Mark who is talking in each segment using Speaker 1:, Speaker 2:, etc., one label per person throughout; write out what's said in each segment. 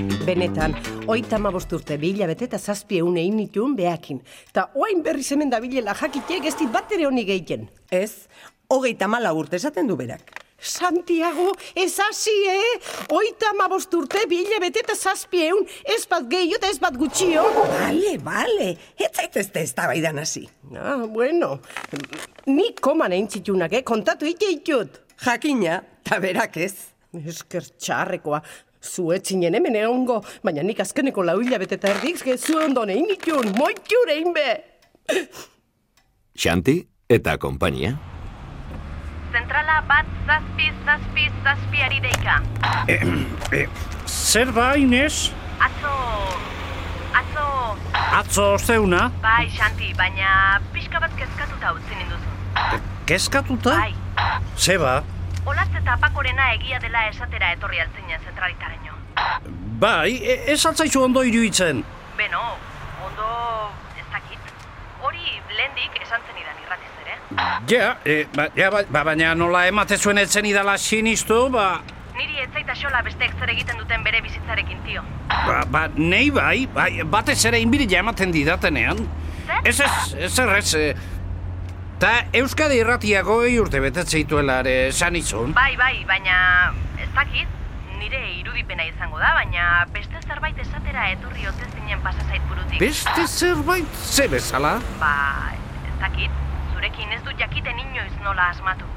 Speaker 1: lanetan, oita amabost urte bila bete eta zazpie une initun behakin. Ta oain berri zemen da bilela jakitek ez dit bat ere honi geiten.
Speaker 2: Ez, hogeita mala urte esaten du berak.
Speaker 1: Santiago, ez hasi, eh? Oita amabost urte bila bete eta zazpieun, ez bat gehiot eta ez bat gutxio.
Speaker 2: Bale, bale, ez zaitezte ez tabaidan hasi.
Speaker 1: Ah, bueno, ni koman egin zitunak, eh? Kontatu ite itut.
Speaker 2: Jakina, eta berak ez.
Speaker 1: Esker txarrekoa, zuetzinen hemen egongo, baina nik azkeneko lau hilabete eta erdik, zu ondoan egin itun, moitur egin be.
Speaker 3: Xanti eta konpainia.
Speaker 4: Zentrala bat zazpi, zazpi, zazpiari deika.
Speaker 5: Zer ba, da, Inez?
Speaker 4: Atzo... Atzo...
Speaker 5: Atzo osteuna?
Speaker 4: Bai, Xanti, baina pixka bat kezkatuta utzi ninduzu.
Speaker 5: Kezkatuta? ba?
Speaker 4: Bai,
Speaker 5: Zeba?
Speaker 4: Olaz eta apakorena egia dela esatera etorri altzinen zentralitaraino.
Speaker 5: Bai, e- ez altzaizu ondo iruditzen.
Speaker 4: Beno, ondo... ez dakit. Hori lendik esan zenidan irratiz ere.
Speaker 5: Ja, e, ba, ja, ba, ba, baina nola ematezuen etzen idala sinistu, ba,
Speaker 4: Niri etzaita xola besteek zer egiten duten bere bizitzarekin, tio.
Speaker 5: ba, ba nei bai, bai, batez ere inbirila ematen didatenean.
Speaker 4: Zer?
Speaker 5: Ez ez, ez errez, e, Ta Euskadi irratiako urte betetze dituela ere esan izun.
Speaker 4: Bai, bai, baina ez dakit, nire irudipena izango da, baina beste zerbait esatera etorri ote zinen pasazait burutik.
Speaker 5: Beste zerbait ze bezala?
Speaker 4: Ba, ez dakit, zurekin ez dut jakiten inoiz nola asmatu.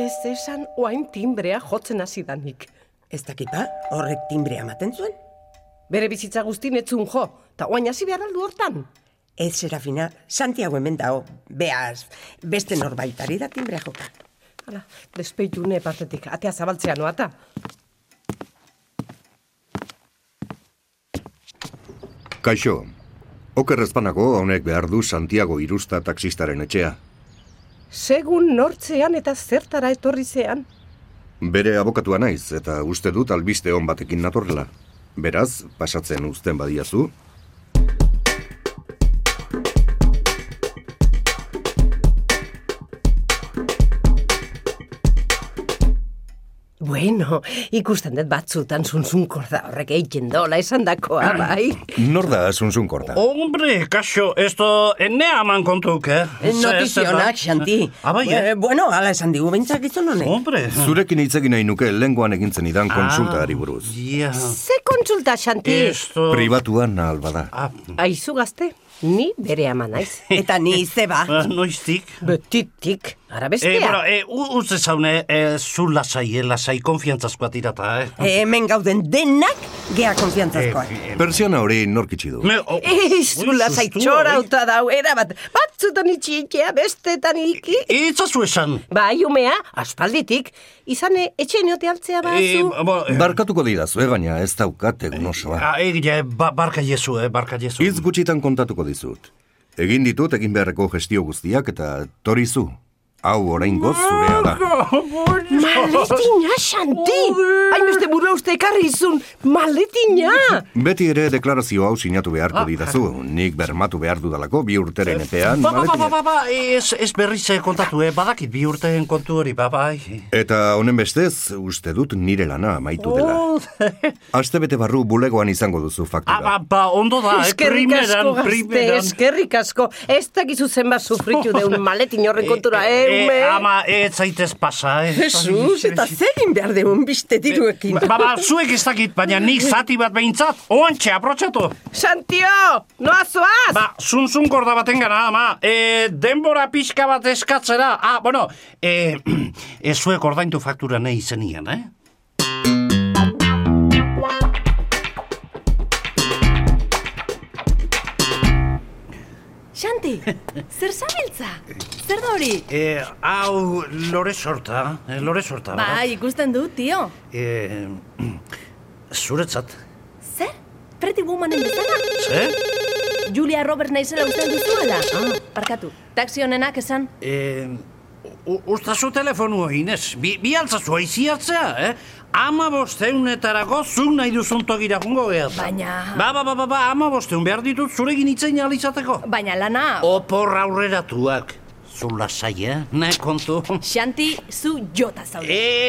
Speaker 1: Ez esan oain timbrea jotzen hasi danik.
Speaker 2: Ez dakit ba, horrek timbrea ematen zuen.
Speaker 1: Bere bizitza guztin etzun jo, eta oain hasi behar aldu hortan.
Speaker 2: Ez, Serafina, Santiago hemen dao, beaz, beste norbaitari da timbrea joka.
Speaker 1: Hala, despeitune partetik, atea zabaltzea noata.
Speaker 6: Kaixo, okerrezpanago honek behar du Santiago Irusta taksistaren etxea.
Speaker 1: Segun nortzean eta zertara etorri zean.
Speaker 6: Bere abokatua naiz eta uste dut albiste on batekin natorrela. Beraz, pasatzen uzten badiazu,
Speaker 1: Bueno, ikusten dut batzutan zunzunkorda horrek eiten dola esan dakoa, bai.
Speaker 6: nor da asunzun korta.
Speaker 5: Hombre, kaso, esto ene aman kontuk, eh?
Speaker 2: Notizionak, Xanti.
Speaker 5: Abai, eh? Oh.
Speaker 2: Eh, bueno, ala esan digu bentzak gizon honek.
Speaker 5: Hombre.
Speaker 6: Zurekin hitz egin nahi nuke lenguan egintzen idan konsultari buruz.
Speaker 5: Ja.
Speaker 1: Ze kontsulta, Xanti?
Speaker 5: Esto...
Speaker 6: Pribatuan nahal bada.
Speaker 5: Ah,
Speaker 1: Aizu gazte, ni bere ama naiz.
Speaker 2: Eta ni eh, zeba.
Speaker 5: ah, noiztik?
Speaker 1: Betitik, arabestea.
Speaker 5: Eh, bueno, eh, u- utze zaune, eh, zu lasai, eh, lasai, konfiantzazkoa tirata, eh?
Speaker 2: Eh, hemen gauden denak gea konfiantzazkoak.
Speaker 6: Persiana hori norkitsi du.
Speaker 5: Me, oh,
Speaker 1: Eizu
Speaker 5: ui,
Speaker 1: lasai
Speaker 5: sustua,
Speaker 1: txora
Speaker 5: oi.
Speaker 1: uta dau, erabat, batzutan itxikia, bestetan iki.
Speaker 5: Eh, Itzazu esan.
Speaker 1: Bai, umea, aspalditik, izane etxe neote altzea
Speaker 5: Eh,
Speaker 1: bazu.
Speaker 5: bo, eh,
Speaker 6: Barkatuko didazu, egaina ez daukat egun osoa.
Speaker 5: ah, egia, eh, ba, barka jezu, eh, barka jezu.
Speaker 6: Hitz gutxitan kontatuko dizut. Egin ditut egin beharreko gestio guztiak eta torizu. Hau oraingoz zurea da.
Speaker 1: Maletina, Xanti! Hainbeste burua uste ekarri izun, maletina!
Speaker 6: Beti ere deklarazio hau sinatu beharko didazu. Nik bermatu behar dudalako bi urteren epean.
Speaker 5: Ba, ba, ba, ba,
Speaker 6: maletina.
Speaker 5: ba, ba, ez, ez berriz eh, kontatu, eh, badakit bi urteen kontu hori, ba, bai.
Speaker 6: Eta honen bestez, uste dut nire lana amaitu
Speaker 5: Oh.
Speaker 6: dela. Aste bete barru bulegoan izango duzu
Speaker 5: Ah, ba,
Speaker 6: faktura.
Speaker 5: ba, ondo da, eh,
Speaker 1: Eskerrik asko,
Speaker 5: primeran,
Speaker 1: gazte,
Speaker 5: primeran.
Speaker 1: eskerrik asko. Ez dakizu zenbat sufritu deun maletin horren kontura, eh, ume?
Speaker 5: ama, ez zaitez pasa, eh.
Speaker 2: Jesus, eta zegin behar deun biste diruekin.
Speaker 5: Ba, ba, zuek ez dakit, baina nik zati bat behintzat, oantxe, aprotxatu.
Speaker 1: Xantio, noa zoaz!
Speaker 5: Ba, zunzun gorda baten gana, ama. E, denbora pixka bat eskatzera. Ah, bueno, e, e, zuek ordaintu faktura nahi izenian, eh?
Speaker 7: Xanti, zer zabiltza? Zer da hori?
Speaker 5: E, hau, lore sorta, eh, lore sorta.
Speaker 1: Bai.
Speaker 7: Ba, ikusten du, tio.
Speaker 5: E, zuretzat,
Speaker 7: Zer? Pretty Womanen bezala?
Speaker 5: ze?
Speaker 7: Julia Robert naizela usten duzuela? Ah. Barkatu, taxi honenak esan.
Speaker 5: E, U- Uztazu telefonua, Inez. Bi, bi altzazu aiziatzea, eh? Ama bosteunetarako zuk nahi duzun togira jungo gehiatzen.
Speaker 7: Baina-
Speaker 5: Ba, ba, ba, ba, ba, ama bosteun behar ditut zurekin itzein alizateko.
Speaker 7: Baina lana,
Speaker 5: Opor aurreratuak. Zu lasaia, ne kontu.
Speaker 7: Xanti, zu jota zaude.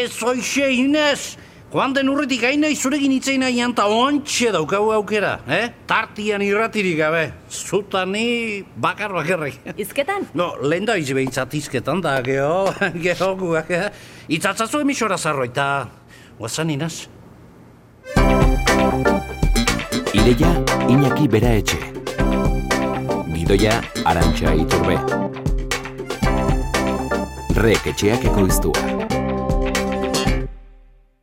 Speaker 5: Ez, oixe, Inez! Joan den urretik hainai zurekin itzein nahian eta ontxe daukagu aukera, eh? Tartian irratirik gabe. Zutani bakar bakarrik.
Speaker 7: Izketan?
Speaker 5: No, lehen da izi behintzat izketan da, geho, geho guak, eh? Itzatzazu emisora zarroita, guazan inaz?
Speaker 3: Ideia Iñaki Bera Etxe. Gidoia Arantxa Iturbe. Rek etxeak ekoiztua.